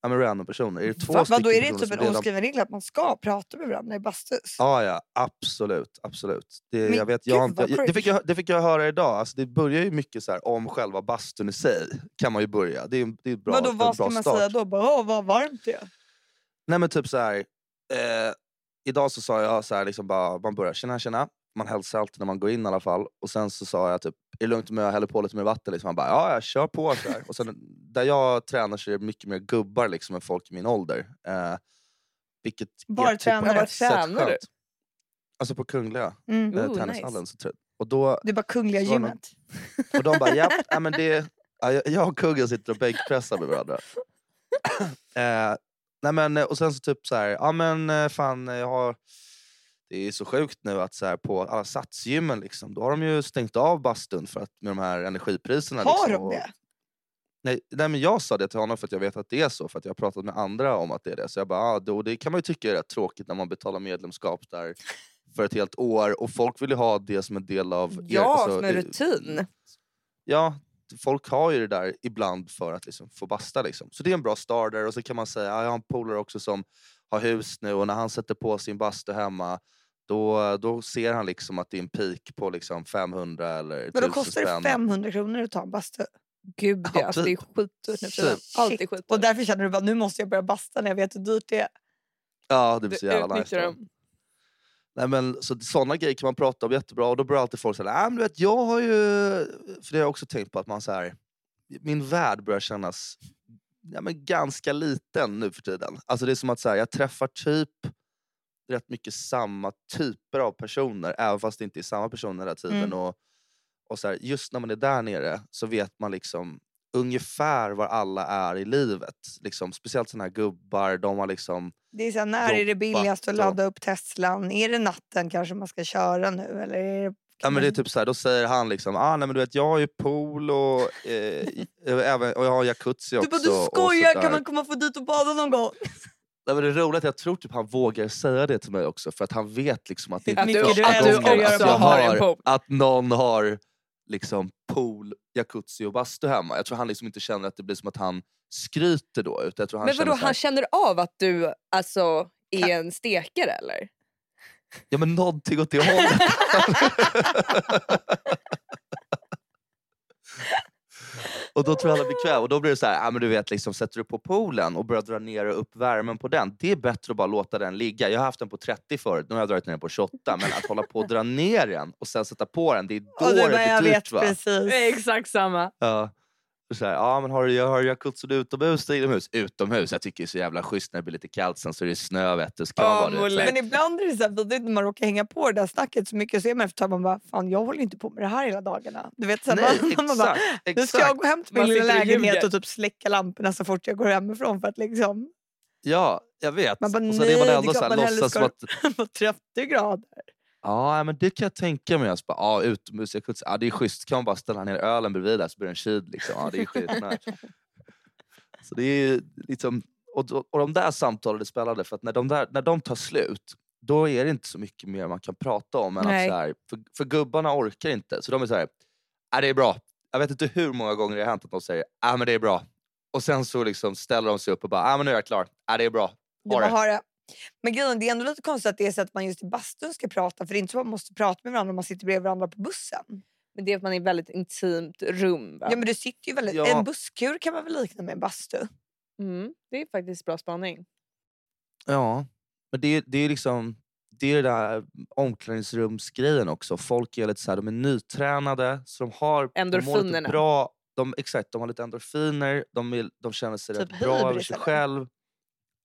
Ja men random personer. Är det två Va, stycken vadå, är det personer typ som en redan- oskriven regel att man ska prata med varandra i bastus? Ja, ja, absolut. absolut. Det, Men jag vet, jag, har gud, inte- vad jag, det, fick cringe. jag, det fick jag höra idag. Alltså, det börjar ju mycket så här, om själva bastun i sig. kan man ju börja. Det är, en- det är en bra, vadå, en vad ska bra man start. säga då? Bara, Åh, vad varmt det är. Nej men typ så här. Eh, idag så sa jag så här, liksom bara, man börjar tjena tjena. Man hälsar alltid när man går in i alla fall. Och sen så sa jag typ, är det lugnt om jag häller på lite mer vatten? Liksom. Han bara, ja jag kör på så här. Och sen där jag tränar så är det mycket mer gubbar liksom än folk i min ålder. Eh, vilket Var är typ tränar på du? ett sätt Tränar du? skönt. Alltså på Kungliga Mm. eh, Ooh, tennishallen. Så trött. Och, då, Det är bara Kungliga Så var det någon- gymmet. och de bara, ja, ja men det... Ja, jag- jag och kungen sitter och bänkpressar med *laughs* varandra. eh, nej men, eh, och sen så typ så här, ja men eh, fan eh, jag har... Det är så sjukt nu att så här, på alla satsgymmen liksom, då har de ju stängt av bastun för att, med de här energipriserna. Har liksom, de och- det? Nej, nej men jag sa det till honom för att jag vet att det är så, för att jag har pratat med andra om att det är det. Så jag bara, ah, då, det kan man ju tycka är rätt tråkigt när man betalar medlemskap där för ett helt år och folk vill ju ha det som en del av... er- Ja, alltså, som en i- rutin. ja, folk har ju det där ibland för att liksom få basta. Liksom. Så det är en bra starter. Och så kan man säga, "Ah, jag har en polare också som har hus nu och när han sätter på sin bastu hemma då, då ser han liksom att det är en peak på liksom 500 eller 1000 Men då kostar det spänn. 500 kronor att ta en bastu. Gud ja, Ja, alltså, det är skitdyrt nu för tiden. Typ. Allt är Shit. skitdyrt. Och därför känner du bara, nu måste jag börja basta när jag vet hur dyrt det är. Ja, det Du blir så jävla nice. utnyttjar då. dem. Nej, men, så, sådana grejer kan man prata om jättebra och då börjar alltid folk säga ah, men du vet, jag har ju... För det har jag också tänkt på, att man så här, min värld börjar kännas ja, men ganska liten nu för tiden. Alltså det är som att så här, jag träffar typ rätt mycket samma typer av personer, även fast det inte är samma personer hela tiden. Mm. Och, och så här, just när man är där nere så vet man liksom ungefär var alla är i livet. Liksom, speciellt såna här gubbar, de har liksom Det är så här, när är det Jobbat billigast att och- ladda upp Teslan? Är det natten kanske man ska köra nu? Eller är det... Ja, Mm. men det är typ så här, då säger han liksom, ah, nej, men du vet jag har ju pool och, eh, i- även, och jag har jacuzzi Du också. bara, du och skojar! sådär." Kan man komma få dit och bada någon gång? nej, men det roliga är att jag tror typ han vågar säga det till mig också för att han vet liksom att det Hur inte Att du, mycket första du att älskar du gången att att också göra jag barn. har en har pool. att någon har liksom pool, jacuzzi och bastu hemma. Jag tror han liksom inte känner att det blir som att han skryter då. Utan jag tror han Men vadå, känner så här, han känner av att du alltså är en stekare eller? Ja men någonting åt det *laughs* hållet. och då tror alla blir kväv. Och då blir det så här, ah, men du vet liksom sätter du på poolen och börjar dra ner och upp värmen på den. Det är bättre att bara låta den ligga. Jag har haft den på 30 förut, nu har jag dragit ner den på 28. Men att hålla på och dra ner den och sen sätta på den, det är då Och du det bara, jag blir vet dyrt va? precis. Exakt samma. Ja. Och Så här, ja, men har du, har du jacuzzin utomhus eller inomhus? Utomhus, jag tycker det är så jävla schysst när det blir lite kallt sen så är det snö vet du. Så kan Ja, man bara, du vet, så här, Men ibland är det så här vidrigt när man råkar hänga på det där snacket så mycket så är man efter ett tag man bara, fan jag håller ju inte på med det här hela dagarna. Du vet, så här, Nej, *laughs* man, man bara, exakt, nu ska jag exakt. gå hem till min Man lilla sitter och lägenhet ljuger. och typ släcka lamporna så fort jag går hemifrån för att liksom, *laughs* Ja, jag vet. Man bara, och sen är man "Nej, det ändå är så här, klart man hellre låtsas som ska- att på 30 grader. ja, men det kan jag tänka mig. Jag så bara, ja, utomhus, jag kunde, ja, det är schysst. Kan man bara ställa ner ölen bredvid där så blir den kyld. Liksom. Ja, det är *laughs* skitnice. så det är ju liksom, och, då- och de där samtalen är spännande för att när de, där, när de tar slut då är det inte så mycket mer man kan prata om. Än Nej. att så här, för, för gubbarna orkar inte. Så de är så här, ja, det är bra. Jag vet inte hur många gånger det har hänt att de säger, ja men det är bra. Och sen så liksom ställer de sig upp och bara, ja men nu är jag klar. Ja det är bra. Du Ha bara det. har det. Men grejen, det är ändå lite konstigt att det är så att man just i bastun ska prata för det är inte så att man måste prata med varandra om man sitter bredvid varandra på bussen. Men det är att man är i ett väldigt intimt rum. Va? Ja, men du sitter ju väldigt, Ja. En busskur kan man väl likna med en bastu? Mm, det är faktiskt bra spaning. Ja, men det, är- det är liksom... det är ju den där omklädningsrumsgrejen också. Folk är lite så här, de är nytränade, så de har... De mår Endorfinerna. lite bra. De, exakt, de har lite endorfiner, de, vill, de känner sig Typ rätt bra över hybris, sig eller? själv.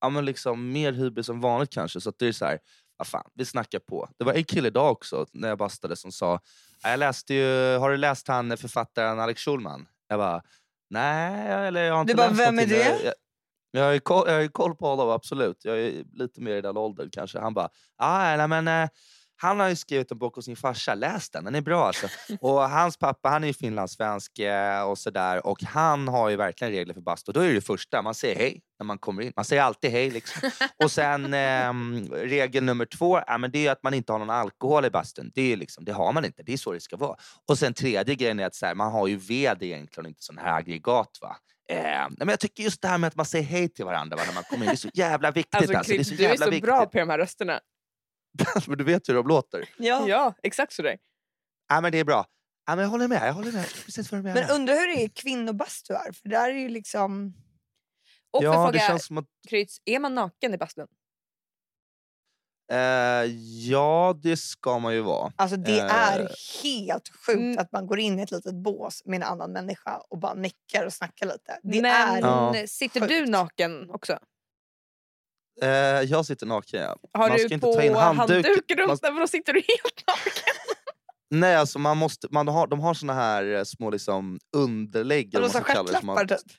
Ja, men liksom mer hybris än vanligt kanske. Så att det är så här, vad fan, vi snackar på. Det var en kille idag också, när jag bastade, som sa "Ja, jag läste ju, har du läst han författaren Alex Schulman? Jag bara, nej, eller jag har inte Du bara, läst "Vem är någonting, men Jag, det?" jag, jag, har ju koll, jag har ju koll på honom, absolut. Jag är lite mer i den åldern kanske. Han bara, ah, nej, men, eh, han har ju skrivit en bok hos sin farsa, läs den, den är bra alltså. Och hans pappa han är ju finlandssvensk eh, och sådär och han har ju verkligen regler för bastu. Och Då är det, det första, man säger hej när man kommer in. Man säger alltid hej liksom. Och sen ehm, regel nummer två, ja, men det är ju att man inte har någon alkohol i bastun. Det, är ju liksom, det har man inte, det är så det ska vara. Och sen tredje grejen är att så här, man har ju ved egentligen och inte sån här aggregat va. Eh, nej, men jag tycker just det här med att man säger hej till varandra va, när man kommer in, det är så jävla viktigt. Alltså, Alltså, Det är Chris, så du är jävla så viktigt. bra på de här rösterna. *laughs* Men du vet hur de låter. Ja. Ja, exakt sådär. Ja, men det är bra. Ja, men jag håller med, jag håller med. Precis vad du menar. Men undrar hur det är i kvinnobastuar, för där är ju liksom... Och ja, för det fråga, känns som att Kryds, är man naken i bastun? Eh, ja, det ska man ju vara. Alltså det Eh. är helt sjukt Mm. att man går in i ett litet bås med en annan människa och bara nickar och snackar lite. Det Men är... Ja. sitter sjukt. du naken också? Eh, jag sitter naken. Ja. Har Man du ska inte på ta in handduk- handduken runt man- där, för då sitter du helt naken? Nej, alltså man måste, man har, de har såna här eh, små liksom, underlägg. Eller eller så vad man ska kalla det, som stjärtlappar man, typ.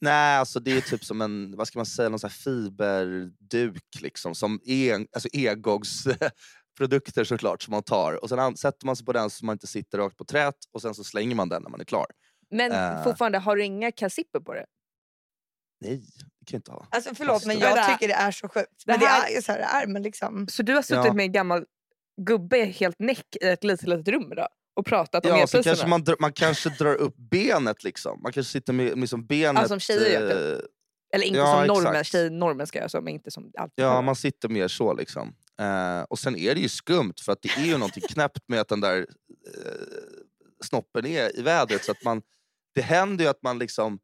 nej, alltså det är typ som en vad ska man säga, någon sån här fiberduk. Liksom, som är en- alltså engångsprodukter såklart som man tar. Och Sen an- sätter man sig på den så man inte sitter rakt på trät och sen så slänger man den när man är klar. Men Eh. fortfarande, har du inga kalsipper på det? Nej, det kan jag inte ha. Alltså förlåt men Bastu. jag Vänta. tycker det är så sjukt. Det Men det här- är ju så här det är. Men liksom... Så du har suttit Ja. med en gammal gubbe helt näck i ett litet, litet rum idag och pratat om Ja, så elpriserna? kanske man, dr- man kanske drar upp benet liksom. Man kanske sitter med liksom benet... som tjejer gör, typ. eh, Eller inte Ja, som normen, exakt. tjejnormen ska göra så, men inte som allt. Ja, man sitter mer så liksom. Eh, och sen är det ju skumt för att det är ju någonting knäppt med att den där eh, snoppen är i vädret. Så att man, det händer ju att man liksom,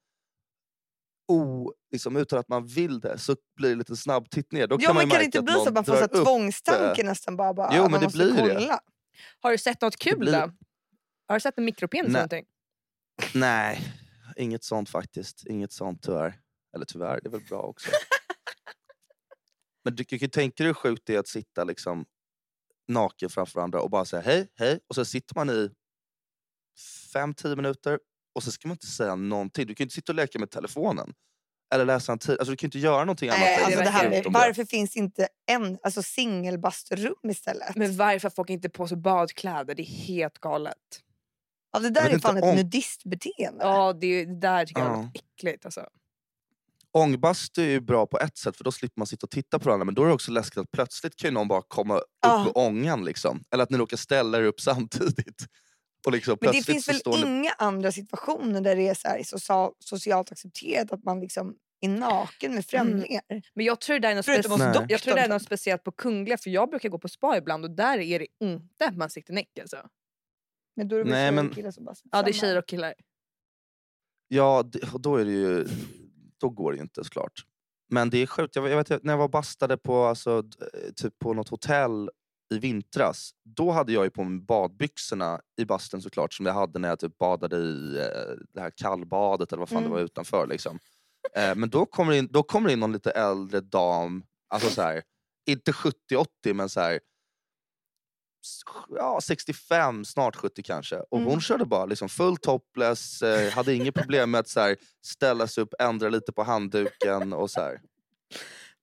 o, liksom utan att man vill det så blir det lite snabb titt ner. Då Jo kan man men ju kan det märka inte att bli så någon att man får drar så upp här det. tvångstanke nästan? Bara, bara, Jo, men att man det måste blir det. kolla. Har du sett något kul blir- då? Har du sett en mikropenis Nej. eller någonting? Nej, inget sånt faktiskt. Inget sånt tyvärr. Eller tyvärr, det är väl bra också. Men du kan ju tänka dig hur sjukt det är att sitta liksom naken framför andra och bara säga hej, hej. Och så sitter man i 5-10 minuter och så ska man inte säga någonting. Du kan ju inte sitta och leka med telefonen. Eller läsa en tid. Alltså du kan ju inte göra någonting annat. Nej, än alltså att det här prata med, om varför finns inte en alltså singelbasturum istället? Men varför har folk inte på sig badkläder? Det är helt galet. ja, det jag där vet är inte fan ett om- nudistbeteende. Ja, det, det där tycker jag är Ja. något äckligt. Alltså. Ångbastu är ju bra på ett sätt för då slipper man sitta och titta på varandra men då är det också läskigt att plötsligt kan ju någon bara komma upp Ja. ur ångan liksom. Eller att ni råkar ställa er upp *laughs* samtidigt. Och liksom Men det plötsligt finns så väl står ni... inga andra situationer där det är så här, social, socialt accepterat att man liksom är naken med främlingar? Men jag tror det där är något Förutom speciellt. hos Nej. doktorn. Jag tror det där är något speciellt på Kungliga för jag brukar gå på spa ibland och där är det inte att man sitter näck alltså. Men då är det väl Nej, tjejer men- och killar som bara sitter Ja det samman. är tjejer och killar. Ja, det- och då är det ju... Då går det ju inte såklart. Men det är sjukt. Jag, vet- jag vet, när jag var bastade på, alltså, d- eh, typ på något hotell i vintras. Då hade jag ju på mig badbyxorna i bastun såklart som jag hade när jag typ badade i eh, det här kallbadet eller vad fan Mm. det var utanför. Liksom. Eh, men då kommer, det in, då kommer det in någon lite äldre dam, alltså så här, inte 70-80 men så här, s- ja, 65, snart 70 kanske. Och Mm. hon körde bara liksom full topless, eh, hade inget problem med att så här, ställa sig upp, ändra lite på handduken och så här.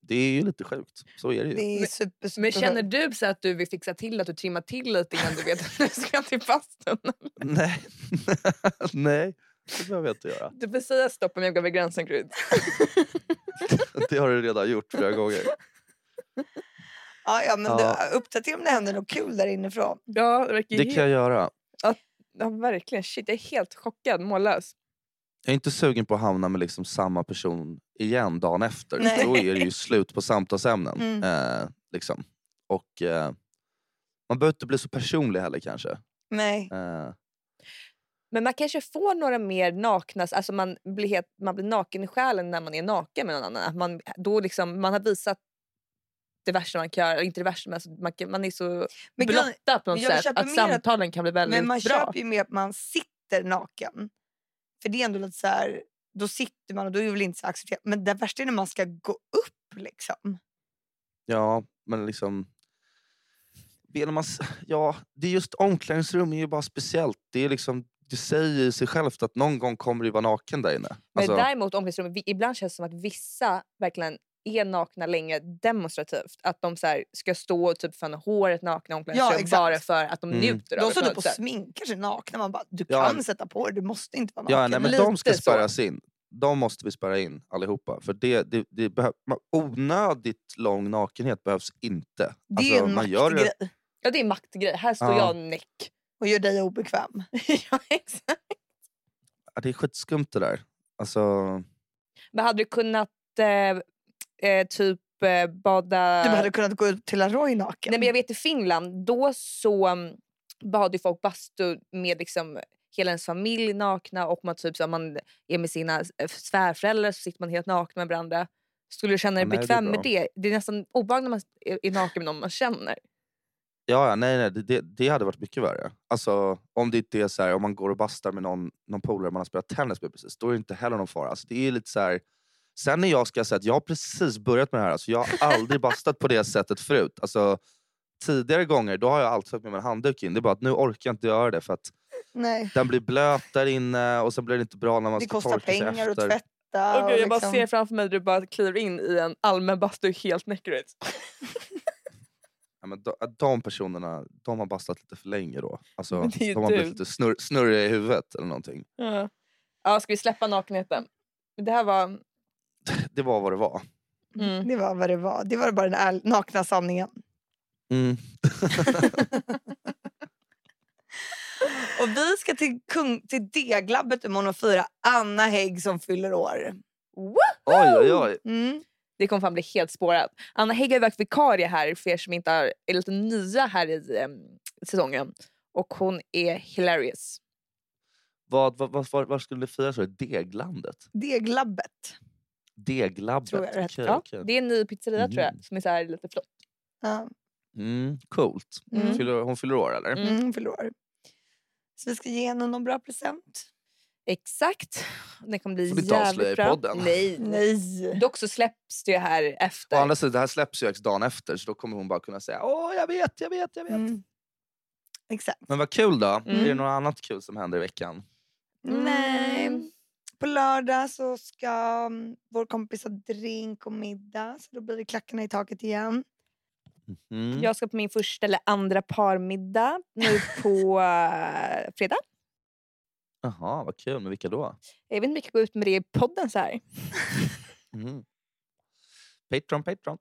Det är ju lite sjukt, så är det ju. Det är Men- super, super Men Mm. känner du så att du vill fixa till att du trimmar till lite innan du vet *laughs* att du ska till bastun? Nej. Nej, *laughs* det behöver jag inte göra. Du får säga stopp om jag går över *laughs* gränsen Gry. Det har du redan gjort flera gånger. ja, ja, men Ja. Du, uppdatera om det händer något kul där inifrån. Ja, det verkar Det ju kan helt, jag göra. ja, verkligen. Shit, jag är helt chockad, mållös. Jag är inte sugen på att hamna med liksom samma person igen dagen efter. Nej. Då är det ju slut på samtalsämnen. Mm. Eh, liksom. Och eh, Man behöver inte bli så personlig heller kanske. Nej. Eh, Men man kanske får några mer nakna, alltså man blir, helt, man blir naken i själen när man är naken med någon annan. Att man, då liksom, man har visat det värsta man kan göra. Eller Inte det värsta, men alltså, man, kan, man är så Men grejen- blottad på något jag sätt köper att mer att- samtalen kan bli väldigt Men man bra. köper ju med att man sitter naken. För det är ändå lite så här, då sitter man och då är det väl inte så accepterat. Men det värsta är när man ska gå upp liksom. Ja, men liksom... Vill man, s- ja, det är just omklädningsrum är ju bara speciellt. Det är liksom, det säger sig självt att någon gång kommer du vara naken där inne. Men Alltså, däremot omklädningsrummet, vi- ibland känns det som att vissa verkligen är nakna länge demonstrativt. Att de så här, ska stå och typ fan håret nakna i Ja, omklädningsrum exakt. bara för att de Mm. njuter av De det. som på då något på sätt. sminkar sig nakna. Man bara, du Ja. kan sätta på dig, du måste inte vara naken. ja, nej, men lite de ska så. spärras in. De måste vi spärra in allihopa. För det, det, det behö- ma- onödigt lång nakenhet behövs inte. det är Alltså, en man gör det- maktgrej Ja, det är en maktgrej. Här står Ja. jag näck. och gör dig obekväm. *laughs* ja, exakt. Ja, Det är skitskumt det där. Alltså, Men hade du kunnat eh, eh, typ eh, bada... Du hade kunnat gå ut till Aroy naken. Nej, men jag vet i Finland, då så um, badade ju folk bastu med liksom hela ens familj nakna och man, typ, så, här, man är med sina eh, svärföräldrar så sitter man helt nakna med varandra. Skulle du känna dig Ja, nej, det är bekväm med bra. det? Det är nästan obehagligt när man är, är naken med någon man känner. Ja, ja, nej, nej det- det, det hade varit mycket värre. Alltså, om det inte är så här, om man går och bastar med någon, någon polare man har spelat tennis med precis, då är det inte heller någon fara. Alltså, det är lite så här, sen när jag ska säga att jag har precis börjat med det här, alltså, jag har aldrig bastat på det sättet förut. Alltså, tidigare gånger då har jag alltid haft med mig en handduk in, det är bara att nu orkar jag inte göra det för att Nej. den blir blöt där inne och sen blir det inte bra när man Det ska kostar torka sig pengar att efter. tvätta. Åh och gud, jag bara liksom- ser framför mig hur du bara kliver in i en allmän bastu helt näckrigt. Ja, men de, de personerna de har bastat lite för länge då. Alltså, Men det är ju de har blivit du. lite snurr, snurriga i huvudet eller någonting. ja. ja, ska vi släppa nakenheten? Det här var... Det var vad det var. Mm. Det var vad det var. Det var bara den ärl- nakna sanningen. Mm. Och vi ska till, kung, till D-glabbet imorgon och fira Anna Hägg som fyller år. Oj, oj, oj. Mm. Det kommer fan bli helt spårat. Anna Hägg har ju varit vikarie här för er som inte har, är lite nya här i em, säsongen. Och hon är hilarious. Vad, vad, vad, vad, vad skulle det firas? för? Deglandet? D-glabbet. Deglabbet? Tror jag det hette, Okej, Ja, okej. det är en ny pizzeria tror Mm. jag som är så här lite flott. Ja. Mm, coolt. Mm. Fyller, hon fyller år eller? Mm. Mm. fyller år. Så vi ska ge henne någon bra present. Exakt. Den kommer bli Får du inte avslöja jävligt i bra. podden? Nej. Nej. Dock så släpps det ju här Å efter. andra sidan, det här släpps ju ex dagen efter så då kommer hon bara kunna säga Åh, jag vet, jag vet, jag vet. Mm. Exakt. Men vad kul då. Är det Mm. något annat kul som händer i veckan? Mm. Nej. På lördag så ska mm, vår kompis ha drink och middag. Så då blir det klackarna i taket igen. Mm. Jag ska på min första eller andra parmiddag nu på eh, fredag. Jaha, vad kul. Men vilka då? Jag vet inte om jag kan gå ut med det i podden så här. Mm. Patreon, Patreon.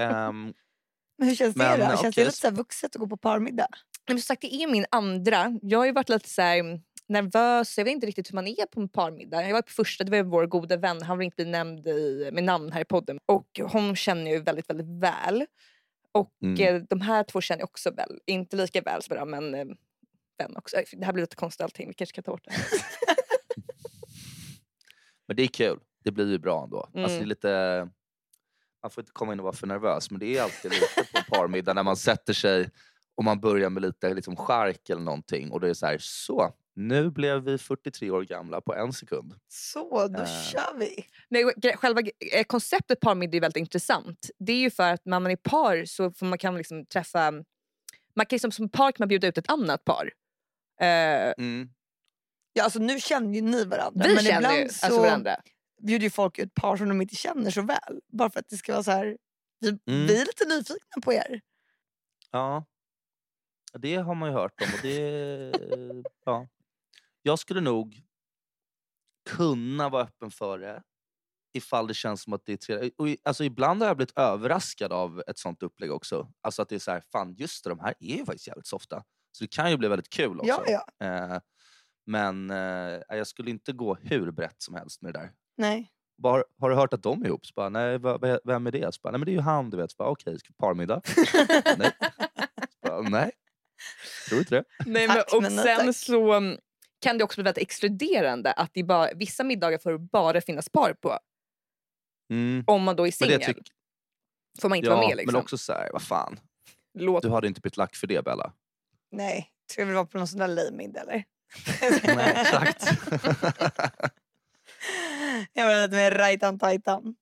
Ehm, Men hur känns Men, det då? ja, Känns okej. det lite så här vuxet att gå på parmiddag? Nej, men som sagt, det är min andra. Jag har ju varit lite så här mm, nervös. Jag vet inte riktigt hur man är på en parmiddag. Jag var på första, det var ju vår goda vän. Han vill inte bli nämnd i, med namn här i podden. Och hon känner jag ju väldigt, väldigt väl. Och Mm. eh, de här två känner jag också väl. Inte lika väl så bra, men eh, vän också. Aj, Det här blir lite konstigt allting. Vi kanske kan *laughs* ta bort det. men det är kul. Det blir ju bra ändå. Alltså, Mm. det är lite... Man får inte komma in och vara för nervös men det är alltid lite på en parmiddag när man sätter sig och man börjar med lite liksom chark eller någonting och det är så här, så nu blev vi 43 år gamla på en sekund. Så, då Eh. kör vi. Men gre- själva eh, konceptet parmiddag är väldigt intressant. Det är ju för att när man är par så får man kan man liksom träffa... Man kan liksom, som par kan man bjuda ut ett annat par. Eh, Mm. Ja, alltså, nu känner ju ni varandra. vi men känner ju ibland så alltså varandra. bjuder ju folk ut par som de inte känner så väl. Bara för att det ska vara så här. Vi, Mm. vi är lite nyfikna på er. Ja. Det har man ju hört om och det... *laughs* ja. Jag skulle nog kunna vara öppen för det ifall det känns som att det är trevligt. Och i- Alltså ibland har jag blivit överraskad av ett sånt upplägg också. Alltså att det är så här, fan just det, de här är ju faktiskt jävligt softa. Så det kan ju bli väldigt kul också. Ja, ja. Eh, men eh, jag skulle inte gå hur brett som helst med det där. Nej. Bara, har, har du hört att de är ihop? Så bara, nej, va- va- vem är det? Så bara, nej men det är ju han du vet. Så bara, Okej, okay, parmiddag? *laughs* nej. Så bara, nej, tror inte det. Nej, men, Tack, och men nej, sen tack. så um, kan det också bli väldigt exkluderande att det är bara, vissa middagar får det bara finnas par på. Mm. Om man då är Men det, singel. tyck, Får man inte vara med liksom? men också så här, vad fan. Låt... Du hade inte blivit lack för det Bella. Nej, ska vi vara på någon sån där lejmid eller? *laughs* Nej, exakt. *laughs* Jag var lite mer rajtan tajtan.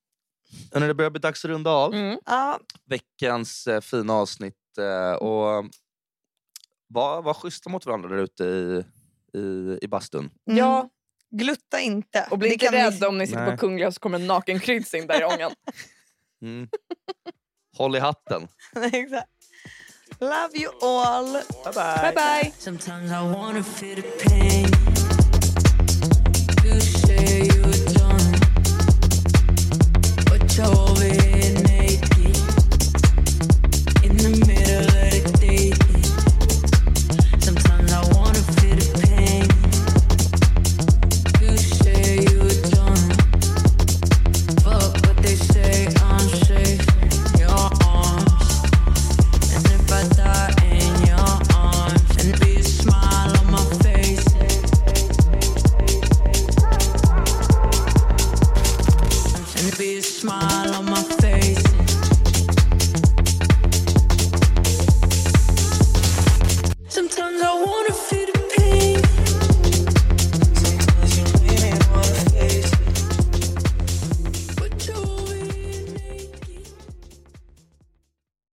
Och när det börjar bli dags att runda av Mm. Ja, veckans eh, fina avsnitt. Eh, och var, var schyssta mot varandra där ute i, i, i bastun. mm. Ja, glutta inte. och bli Det inte kan ni- rädd om ni sitter Nej. på Kungliga så kommer en nakenkryssning där i ångan. *laughs* Mm. Håll i hatten. *laughs* Exakt. Love you all. Bye bye! Sometimes I wanna feel the pain. You say